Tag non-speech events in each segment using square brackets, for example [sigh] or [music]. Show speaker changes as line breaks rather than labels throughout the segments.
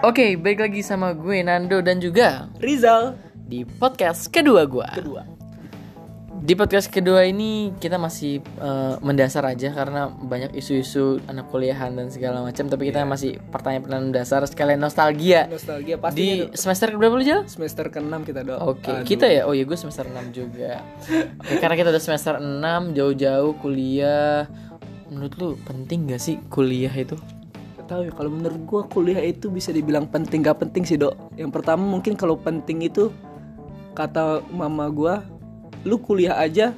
Oke, balik lagi sama gue Nando dan juga
Rizal
di podcast kedua gue.
kedua.
Di podcast kedua ini kita masih eh, mendasar aja karena banyak isu-isu anak kuliahan dan segala macam. Tapi
Iya.
kita masih pertanyaan-pertanyaan dasar sekalian nostalgia.
Nostalgia
Di
pastinya. Di
semester berapa lu Jal?
semester ke-6 kita doa.
Oke, kita ya. Oh ya, gue semester 6 juga. Oke, karena kita udah semester 6 jauh-jauh kuliah. Menurut lu penting gak sih kuliah itu?
tahu ya kalau menurut gua kuliah itu bisa dibilang penting gak penting sih, Dok. Yang pertama mungkin kalau penting itu kata mama gua, lu kuliah aja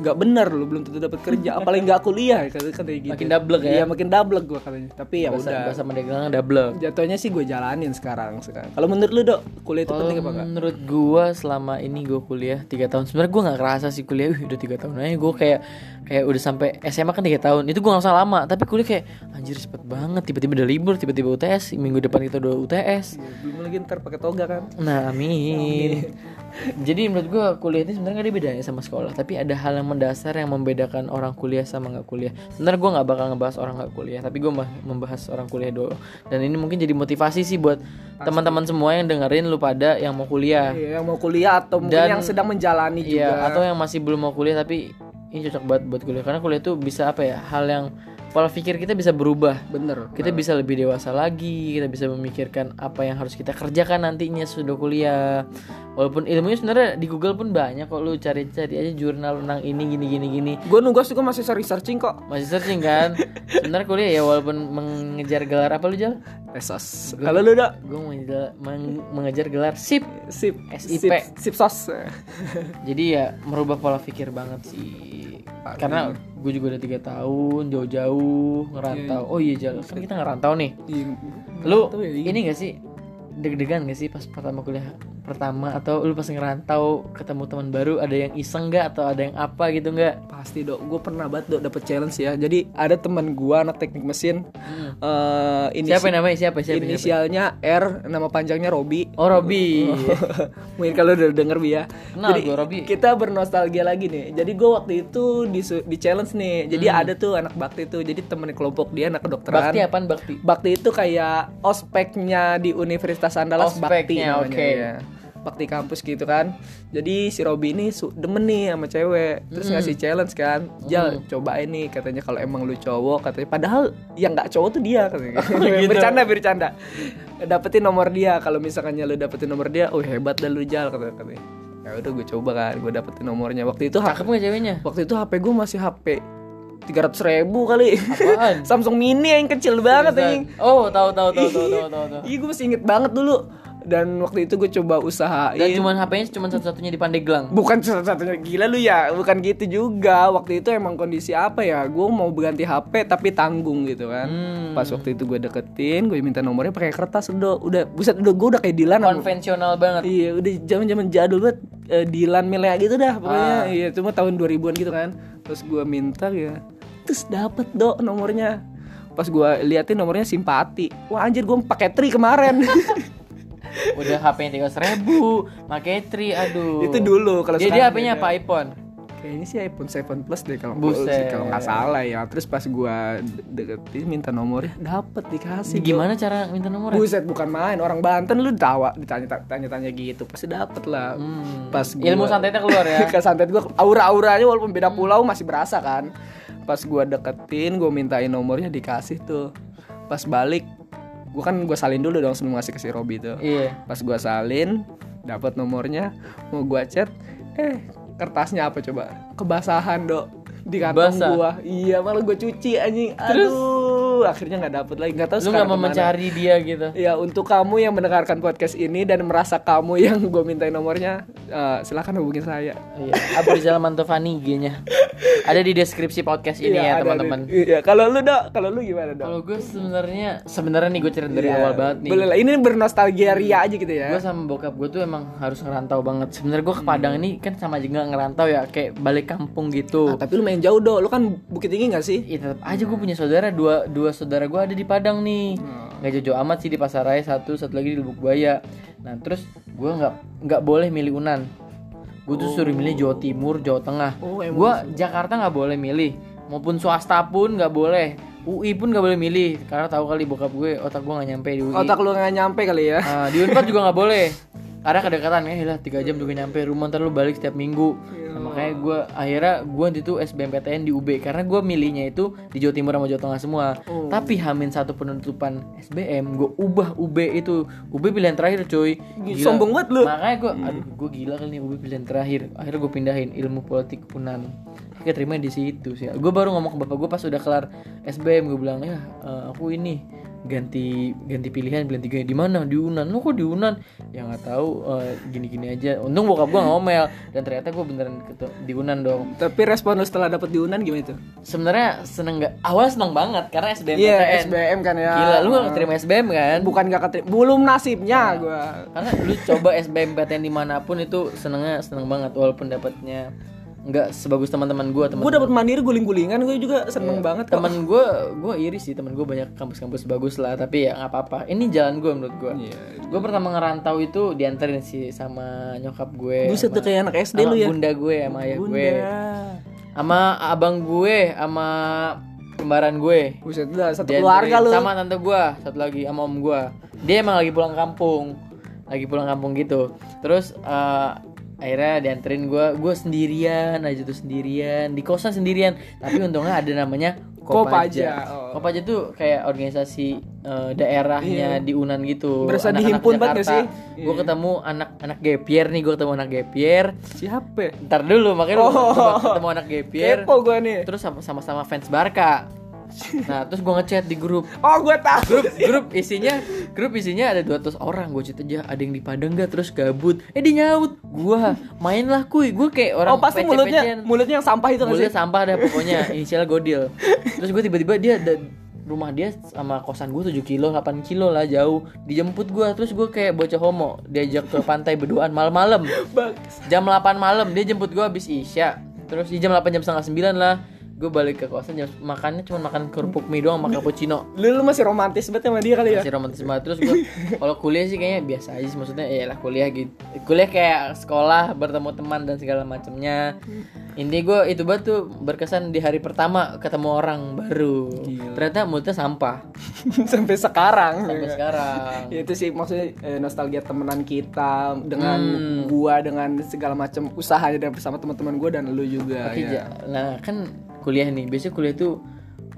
nggak benar lu belum tentu dapat
[laughs]
kerja apalagi nggak kuliah kata kata gitu
Makin double ya?
iya makin double gua katanya tapi ya
bahasa,
udah
bahasa Mendeglang double.
jatuhnya sih gue jalanin sekarang sekarang kalau menurut lu dok kuliah itu penting apa enggak
Menurut gua selama ini gua kuliah 3 tahun. Sebenarnya gua nggak kerasa sih kuliah Wih, udah 3 tahun aja gua kayak kayak udah sampai SMA kan 3 tahun. Itu gua nggak usah lama, tapi kuliah kayak anjir cepet banget. Tiba-tiba udah libur, tiba-tiba UTS, minggu depan kita udah UTS.
Iya, belum lagi ntar pakai toga kan
Nah, amin. Jadi menurut gua kuliah ini sebenarnya gak ada bedanya sama sekolah, tapi ada hal yang mendasar yang membedakan orang kuliah sama nggak kuliah. Sebenarnya gua nggak bakal ngebahas orang nggak kuliah, tapi gua mah- membahas orang kuliah dulu. Dan ini mungkin jadi motivasi sih buat teman-teman semua yang dengerin lu pada yang mau kuliah.
Iya, yang mau kuliah atau mungkin
Dan-
yang sedang menjalani juga.
Iya, atau yang masih belum mau kuliah tapi ini cocok banget buat kuliah karena kuliah tuh bisa apa ya? Hal yang pola pikir kita bisa berubah.
bener.
Kita bisa lebih dewasa lagi, kita bisa memikirkan apa yang harus kita kerjakan nantinya sudah kuliah. Walaupun ilmunya sebenarnya di Google pun banyak kok lu cari-cari aja jurnal tentang ini gini gini gini.
Gue nugas juga masih sering searching kok.
Masih searching kan? sebenarnya kuliah ya walaupun mengejar gelar apa lu Jal?
Esos. Kalau lu dok,
Gue mengejar gelar sip.
sip.
SIP.
Sip, sip [laughs] sos.
Jadi ya merubah pola pikir banget sih. Karena gue juga udah tiga tahun jauh-jauh ngerantau. Oh iya jalan kan kita ngerantau nih. Lu
Ngerantau ya, iya.
ini gak sih deg-degan gak sih pas pertama kuliah pertama atau lu pas ngerantau ketemu teman baru ada yang iseng gak atau ada yang apa gitu nggak?
Pasti dok, gue pernah banget dok dapet challenge ya. Jadi ada teman gue anak teknik mesin. Eh ini
Siapa namanya siapa siapa? siapa?
inisialnya R, nama panjangnya Robi. [laughs]
Oh Robi.
Mungkin kalau udah denger Bi, ya.
Kenal
Jadi
gua, Robi.
kita bernostalgia lagi nih. Jadi gue waktu itu di, di challenge nih. Jadi ada tuh anak bakti tuh. Jadi temen kelompok dia anak kedokteran.
Bakti apaan Bakti?
Bakti itu kayak ospeknya di Universitas Andalas Bakti
Ospeknya,
namanya,
oke.
iya. Bakti kampus gitu kan. Jadi si Robi ini su- demen nih sama cewek. Terus ngasih
Hmm.
challenge kan. Jal, cobain nih katanya kalau emang lu cowok katanya. Padahal yang nggak cowok tuh dia katanya.
Oh,
[laughs]
gitu.
bercanda, bercanda. Dapetin nomor dia. Kalau misalkannya lu dapetin nomor dia, oh hebat dah lu Jal katanya. katanya. Ya udah gue coba kan, gue dapetin nomornya. Waktu itu
Cakep gak ceweknya?
waktu itu HP gue masih HP 300 ribu kali.
Apaan?
[laughs] Samsung Mini yang kecil banget anjing.
Oh tahu tahu tahu tahu tahu tahu.
[laughs]
tahu.
Iya gue masih inget banget dulu Dan waktu itu gue coba usahain
Dan cuman HP-nya cuman satu-satunya di Pandeglang.
Bukan satu-satunya gila lu ya Bukan gitu juga Waktu itu emang kondisi apa ya Gue mau berganti HP tapi tanggung gitu kan Pas waktu itu gue deketin Gue minta nomornya pakai kertas udah Udah buset udah gue udah kayak Dilan sama-
Konvensional banget.
Iya udah zaman-zaman jadul banget eh, Dilan Milea gitu dah pokoknya Iya cuma tahun 2000an gitu kan Terus gue minta ya Terus dapet dok nomornya Pas gue liatin nomornya simpati Wah anjir gue pakai tri kemarin
udah HP-nya tiga ribu, pakai tri, aduh.
Itu dulu, kalau
jadi
sekarang
HP-nya apa iPhone?
Kayaknya sih iPhone 7 Plus deh kalau
Buset.
kalau nggak salah ya. Terus pas gua de- deketin minta nomornya, dapet dikasih.
Gimana cara minta
Bro.
nomor? ya?
Buset bukan main orang Banten lu tawa ditanya tanya-tanya gitu pasti dapet lah. Pas gua,
Hmm. Ilmu Hmm. santetnya keluar ya.
[laughs] ke santet gua aura-auranya walaupun beda pulau masih berasa kan. Pas gua deketin, gua mintain nomornya dikasih tuh. Pas balik, gua kan gua salin dulu dong sebelum ngasih ke si Robi tuh
iya.
pas gua salin dapat nomornya mau gua chat eh kertasnya apa coba kebasahan dok di kantong
Basah.
gua iya malah gua cuci anjing aduh akhirnya nggak dapet lagi nggak tahu
Lu nggak
sekarang
mau
kemana.
mencari dia gitu.
Ya untuk kamu yang mendengarkan podcast ini dan merasa kamu yang [laughs] gue mintain nomornya, eh, silahkan hubungin saya.
Iya, Abrizal Mantovani IG-nya. Ada di deskripsi podcast ini
Iya,
ya,
ada-
teman-teman.
Iya, kalau lu dok, kalau lu gimana dok?
Kalau gue sebenarnya sebenarnya nih gue cerita dari
Iya,
awal banget nih.
Boleh lah, ini bernostalgia ria aja gitu ya.
gue sama bokap gue tuh emang harus ngerantau banget. Sebenarnya gue ke Padang
Hmm.
ini kan sama aja nggak ngerantau ya, kayak balik kampung gitu.
Ah, tapi lu main jauh dok, lu kan bukit tinggi gak sih?
Ya tetap aja gue punya saudara dua dua saudara gue ada di Padang nih
Hmm.
nggak jauh amat sih di Pasaraya satu satu lagi di Lubuk Buaya nah terus gue nggak nggak boleh milih Unan gue tuh suruh milih Jawa Timur Jawa Tengah
Oh, emang
gue Jakarta nggak boleh milih maupun swasta pun nggak boleh UI pun gak boleh milih karena tahu kali bokap gue otak gue gak nyampe di UI.
Otak lu nggak nyampe kali ya.
Ah, di Unpad juga nggak boleh. Karena kedekatan ya, lah tiga jam juga nyampe rumah ntar lu balik setiap minggu. Nah, makanya gue akhirnya gue nanti tuh SBMPTN di UB karena gue milihnya itu di Jawa Timur sama Jawa Tengah semua. Tapi Hamin satu penutupan SBM gue ubah UB itu UB pilihan terakhir coy.
Sombong banget lu.
Makanya gue, aduh gue gila kali nih UB pilihan terakhir. Akhirnya gue pindahin ilmu politik Unan. Keterima di situ sih. Gue baru ngomong ke bapak gue pas udah kelar SBM gue bilang ya eh, aku ini ganti ganti pilihan pilihan tiga ya." di mana di Unan lu kok di Unan ya nggak tahu eh, gini-gini aja untung bokap gue ngomel dan ternyata gue beneran ketu- di Unan dong
Tapi respon lu setelah dapet di Unan gimana tuh?
sebenarnya seneng nggak awal seneng banget karena SBM
Iya, SBM kan ya.
gila lu Iya. gak terima SBM kan
Bukan gak keterima, belum nasibnya gua.
karena lu coba SBMPTN dimanapun itu senengnya seneng banget walaupun dapatnya nggak sebagus teman-teman gue teman
Gua dapet mandiri guling-gulingan, gua juga
Iya.
seneng banget kok.
teman gue gue iri sih teman gue banyak kampus-kampus bagus lah tapi ya nggak apa-apa ini jalan gue menurut gue
Iya,
gue pertama ngerantau itu dianterin sih sama nyokap gue
Buset tuh kayak anak SD
sama
lu ya.
Iya, bunda gue sama ayah gue
Bunda.
sama abang gue sama kembaran gue
Buset lah, satu
Dianterin
keluarga lu.
sama tante gua satu lagi sama om gua dia emang lagi pulang kampung lagi pulang kampung gitu terus eh, akhirnya dianterin gua gua sendirian aja tuh sendirian di kosan sendirian tapi untungnya ada namanya
Kopaja,
Kopaja
oh.
Kopaja tuh kayak organisasi eh, daerahnya di Unan gitu
Iya. Berasa
Anak-anak
dihimpun banget gak
Jakarta.
sih? Iya.
gua ketemu anak-anak Gepier nih gua ketemu anak Gepier
Siapa? ya?
ntar dulu makanya lu ketemu, ketemu anak Gepier
Kepo gua nih.
terus sama- sama-sama fans Barca nah terus gua ngechat di grup
Oh, gua tahu.
grup grup isinya grup isinya ada 200 orang gue chat aja ada yang di Padang gak terus gabut eh dia nyaut gua main lah kuy gue kayak orang
Oh, pasti mulutnya
pece-pecean.
mulutnya yang sampah itu kan sih.
mulut sampah dah pokoknya inisial Godil terus gue tiba-tiba dia ada rumah dia sama kosan gue 7 kilo 8 kilo lah jauh dijemput gua terus gue kayak bocah homo diajak ke pantai berduaan malam-malam
Bang.
jam 8 malam dia jemput gua habis isya terus di jam 8 jam setengah 9 lah gue balik ke kosan jam makannya cuma makan kerupuk mie doang makan cappuccino
Lu, lu masih romantis banget sama dia kali
[laughs]
ya?
masih romantis banget terus gue kalau kuliah sih kayaknya biasa aja sih maksudnya ya lah kuliah gitu kuliah kayak sekolah bertemu teman dan segala macamnya ini gue itu banget tuh berkesan di hari pertama ketemu orang baru ternyata mulutnya sampah
Sampai sekarang.
sampai
[laughs]
sekarang
Ya, itu sih maksudnya eh, nostalgia temenan kita dengan
Hmm.
gua dengan segala macam usahanya dan bersama teman-teman gua dan lu juga
Tapi
ya.
ja- nah kan kuliah nih biasanya kuliah tuh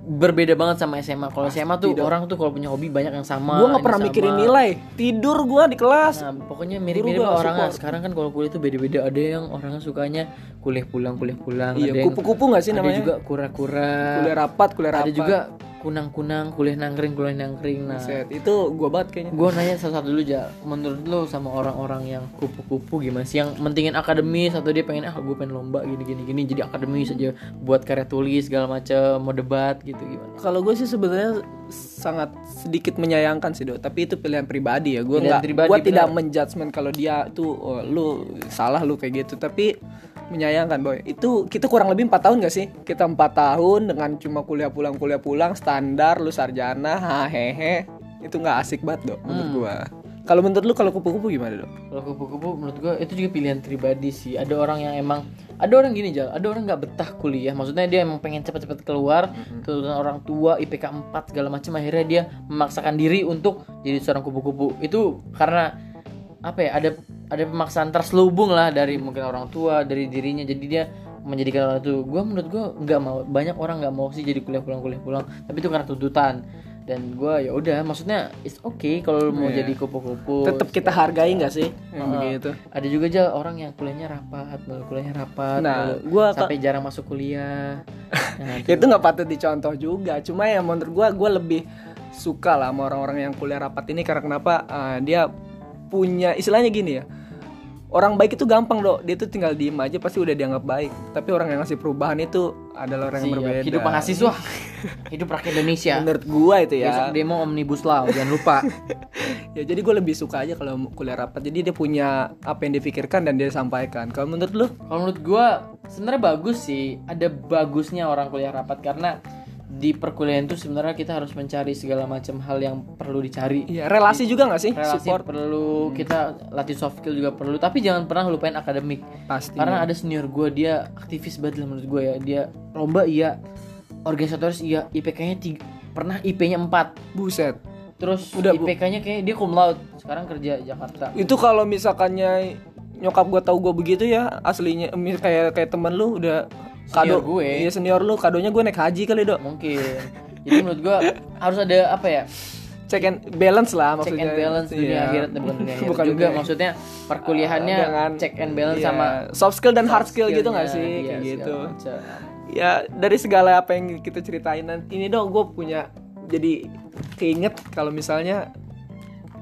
berbeda banget sama SMA kalau SMA tuh orang tuh kalau punya hobi banyak yang sama
Gua nggak
ini
pernah
sama.
mikirin nilai. Tidur gua di kelas.
Nah, pokoknya mirip-mirip
Guru gak
orangnya sekarang kan kalau kuliah tuh beda-beda ada yang orangnya sukanya kuliah pulang kuliah pulang ada
Iya,
yang
kupu-kupu nggak sih
ada
namanya?
juga kura-kura
kuliah rapat, kuliah rapat.
ada juga kunang-kunang kuliah nangkring kuliah nangkring nah
Set, itu gua banget kayaknya.
gue nanya satu-satu dulu ja menurut lo sama orang-orang yang kupu-kupu gimana sih yang mentingin akademis atau dia pengen ah gue pengen lomba gini gini gini jadi akademis aja buat karya tulis segala macem mau debat gitu gimana
Kalau gue sih sebenarnya sangat sedikit menyayangkan sih, Do. Tapi itu pilihan pribadi ya. Gue
Pilihan
nggak,
pribadi,
gue
benar.
tidak menjudgment kalau dia tuh oh, lu salah lu kayak gitu. Tapi menyayangkan boy. Itu kita kurang lebih empat tahun gak sih? Kita empat tahun dengan cuma kuliah pulang kuliah pulang standar lu sarjana hahehe. Itu nggak asik banget, Do. Menurut
Hmm.
gue. Kalau menurut lu kalau kupu-kupu gimana, Do?
kalau kupu-kupu menurut gue itu juga pilihan pribadi sih ada orang yang emang ada orang gini jal ada orang nggak betah kuliah maksudnya dia emang pengen cepet-cepet keluar tuntutan orang tua IPK 4 segala macem akhirnya dia memaksakan diri untuk jadi seorang kupu-kupu itu karena apa ya ada ada pemaksaan terselubung lah dari mungkin orang tua dari dirinya jadi dia menjadikan orang itu gue menurut gue nggak mau banyak orang nggak mau sih jadi kuliah pulang kuliah pulang tapi itu karena tuntutan dan gue ya udah maksudnya it's okay kalau lu mau jadi kupu-kupu Ah.
Tetap kita hargai nggak sih? Yang begitu.
ada juga aja orang yang kuliahnya rapat mulu kuliahnya rapat
Nah,
mulu
gua
Ah, sampai jarang masuk
[laughs]
kuliah nah,
itu nggak patut dicontoh juga cuma ya menurut gue gue lebih suka lah sama orang-orang yang kuliah rapat ini karena kenapa eh, dia punya istilahnya gini ya orang baik itu gampang dok dia tuh tinggal diem aja pasti udah dianggap baik tapi orang yang ngasih perubahan itu adalah orang yang
siap.
berbeda
hidup mahasiswa hidup rakyat Indonesia
menurut gue itu ya
besok demo omnibus law jangan lupa
ya jadi gue lebih suka aja kalau kuliah rapat jadi dia punya apa yang dipikirkan dan dia sampaikan kalau menurut lu
Kalau menurut gua sebenarnya bagus sih, ada bagusnya orang kuliah rapat karena di perkuliahan itu sebenarnya kita harus mencari segala macam hal yang perlu dicari.
ya relasi juga nggak sih
Relasi
support
perlu, kita latih soft skill juga perlu, tapi jangan pernah lupain akademik.
pasti
Karena ada senior gua dia aktivis banget lah menurut gua ya. Dia lomba iya, organisatoris iya, IPK-nya tiga- pernah IP-nya 4
Buset.
terus
Udah, Bu.
IPK-nya kayak dia cum laude sekarang kerja Jakarta
Itu kalau misalkannya nyokap gua tahu gua begitu ya aslinya em, kayak kayak temen lu udah
Senior
kado
gue.
Iya senior lu kadonya gue naik haji kali dok.
mungkin jadi menurut gua harus ada apa ya
Check and balance lah
check
maksudnya.
and balance dunia
Iya.
akhirat bukan
[laughs]
dunia akhirat
Bukan
juga
dunia.
maksudnya perkuliahannya
Ah, dengan-
check and balance
Iya,
sama
soft skill dan hard skill gitu nggak
skillnya,
sih
iya,
kayak
segala
gitu.
macam.
Ya dari segala apa yang kita ceritain nanti ini dong gue punya jadi keinget kalau misalnya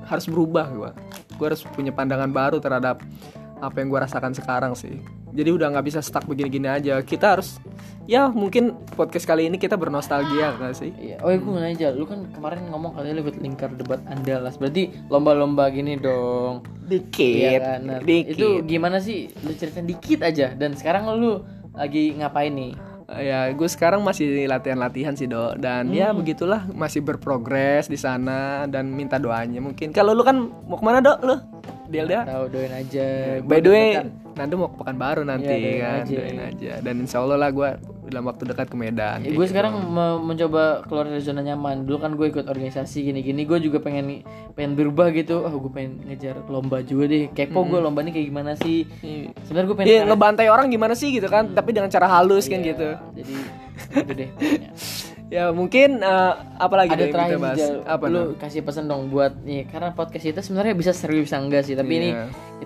harus berubah gue. Gue harus punya pandangan baru terhadap apa yang gue rasakan sekarang sih. Jadi udah nggak bisa stuck begini-gini aja. Kita harus ya mungkin podcast kali ini kita bernostalgia nggak sih?
Iya. Oh, aku nanya aja. Lu kan kemarin ngomong katanya lu ikut lingkar debat Andalas. Berarti lomba-lomba gini dong. Iya
Dikit,
kan? Nah,
dikit.
Itu gimana sih? Lu ceritain dikit aja. Dan sekarang lu lagi ngapain nih?
Ya, gue sekarang masih latihan-latihan sih, Dok. Dan ya
Hmm.
begitulah masih berprogres di sana dan minta doanya mungkin. Kalau lu kan mau kemana, Dok? Lu? Delda?
Tahu doain aja.
By the way,
Gua deg-degan.
Nanti mau ke Pekanbaru nanti
Iya, doain
kan,
aja.
doain aja. Dan insya Allah lah gue dalam waktu dekat ke Medan.
Ya,
kayak
gue
gitu.
sekarang me- mencoba keluar dari zona nyaman. Dulu kan gue ikut organisasi gini-gini, gue juga pengen pengen berubah gitu. Ah, gue pengen ngejar lomba juga deh. Kepo gue lomba ini kayak gimana sih?
Iya.
Sebenarnya gue pengen
Hmm. Iya, ngebantai orang gimana sih gitu kan, tapi dengan cara halus kan gitu.
Jadi gitu deh. pokoknya.
Ya, mungkin eh, apa lagi
Ada
Dok, yang
terakhir
kita bahas?
Jal,
Apa,
lu
Dok?
kasih pesan dong buat nih karena podcast kita sebenarnya bisa serius enggak sih, tapi
Iya.
ini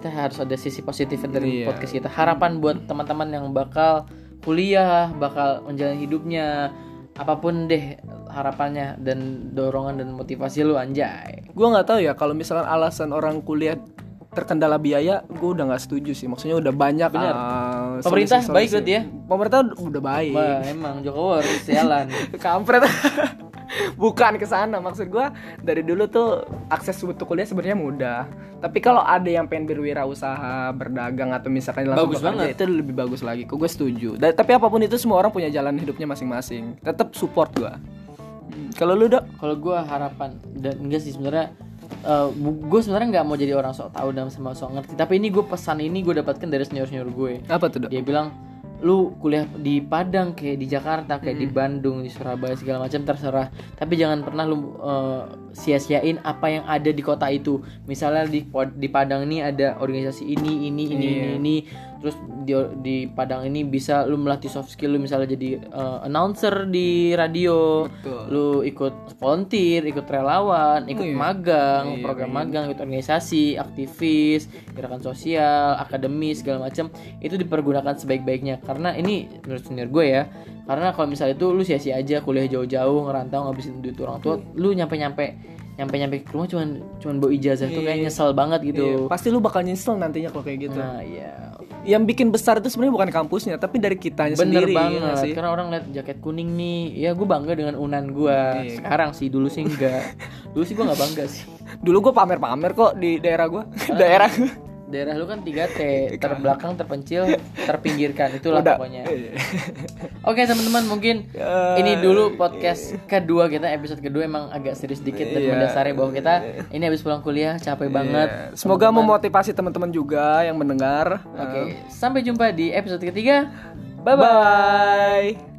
kita harus ada sisi positif dari
Iya.
podcast kita. Harapan buat teman-teman yang bakal kuliah, bakal menjalani hidupnya, apapun deh harapannya dan dorongan dan motivasi lu anjay.
gue nggak tahu ya kalau misalkan alasan orang kuliah terkendala biaya gue udah nggak setuju sih maksudnya udah banyak
Benar.
uh,
Pemerintah
solusi-solusi.
baik berarti ya?
pemerintah ud- udah baik
Wah, emang Jokowi harus sialan.
kampret [laughs] bukan ke sana maksud gue dari dulu tuh akses untuk kuliah sebenarnya mudah tapi kalau ada yang pengen berwirausaha berdagang atau misalkan langsung
Bagus banget.
bekerja, itu lebih bagus lagi kok gue setuju Da- tapi apapun itu semua orang punya jalan hidupnya masing-masing tetap support gue Hmm, kalau lu dok
Kalau gue harapan dan enggak sih sebenarnya gue sebenarnya nggak mau jadi orang sok tahu dan sama sok ngerti tapi ini gue pesan ini gue dapatkan dari senior senior gue
apa tuh dok
dia bilang lu kuliah di Padang kayak di Jakarta kayak di Bandung di Surabaya segala macam terserah tapi jangan pernah lu eh, sia-siain apa yang ada di kota itu misalnya di Pod- di Padang ini ada organisasi ini ini ini ini ini terus di, di Padang ini bisa lu melatih soft skill lu misalnya jadi eh, announcer di radio
Betul.
lu ikut volunteer ikut relawan ikut
Iya.
magang
Iya,
program magang ikut organisasi aktivis gerakan sosial akademis segala macam itu dipergunakan sebaik-baiknya karena ini menurut senior gue ya karena kalau misalnya itu lu sia-sia aja kuliah jauh-jauh ngerantau ngabisin duit orang tua
Iya.
lu nyampe-nyampe nyampe-nyampe ke rumah cuman cuman bawa ijazah tuh
Iya.
kayak nyesel banget gitu
pasti lu bakal nyesel nantinya kalau kayak gitu
nah iya
yang bikin besar itu sebenarnya bukan kampusnya tapi dari kitanya
bener
sendiri iya
banget
nggak sih?
karena orang lihat jaket kuning nih ya gue bangga dengan unan gue
Iya.
sekarang sih dulu sih enggak dulu sih gue nggak bangga sih
dulu gue pamer-pamer kok di daerah gue daerah gua. [laughs]
daerah lu kan 3T terbelakang terpencil terpinggirkan itulah
Udah. Iya. Ya,
pokoknya oke teman-teman mungkin ini
iya.
dulu podcast kedua kita episode kedua emang agak serius dikit dan
Iya.
mendasari bahwa kita ini habis pulang kuliah capek banget
Iya. semoga memotivasi teman-teman juga yang mendengar
oke sampai jumpa di episode ketiga
bye bye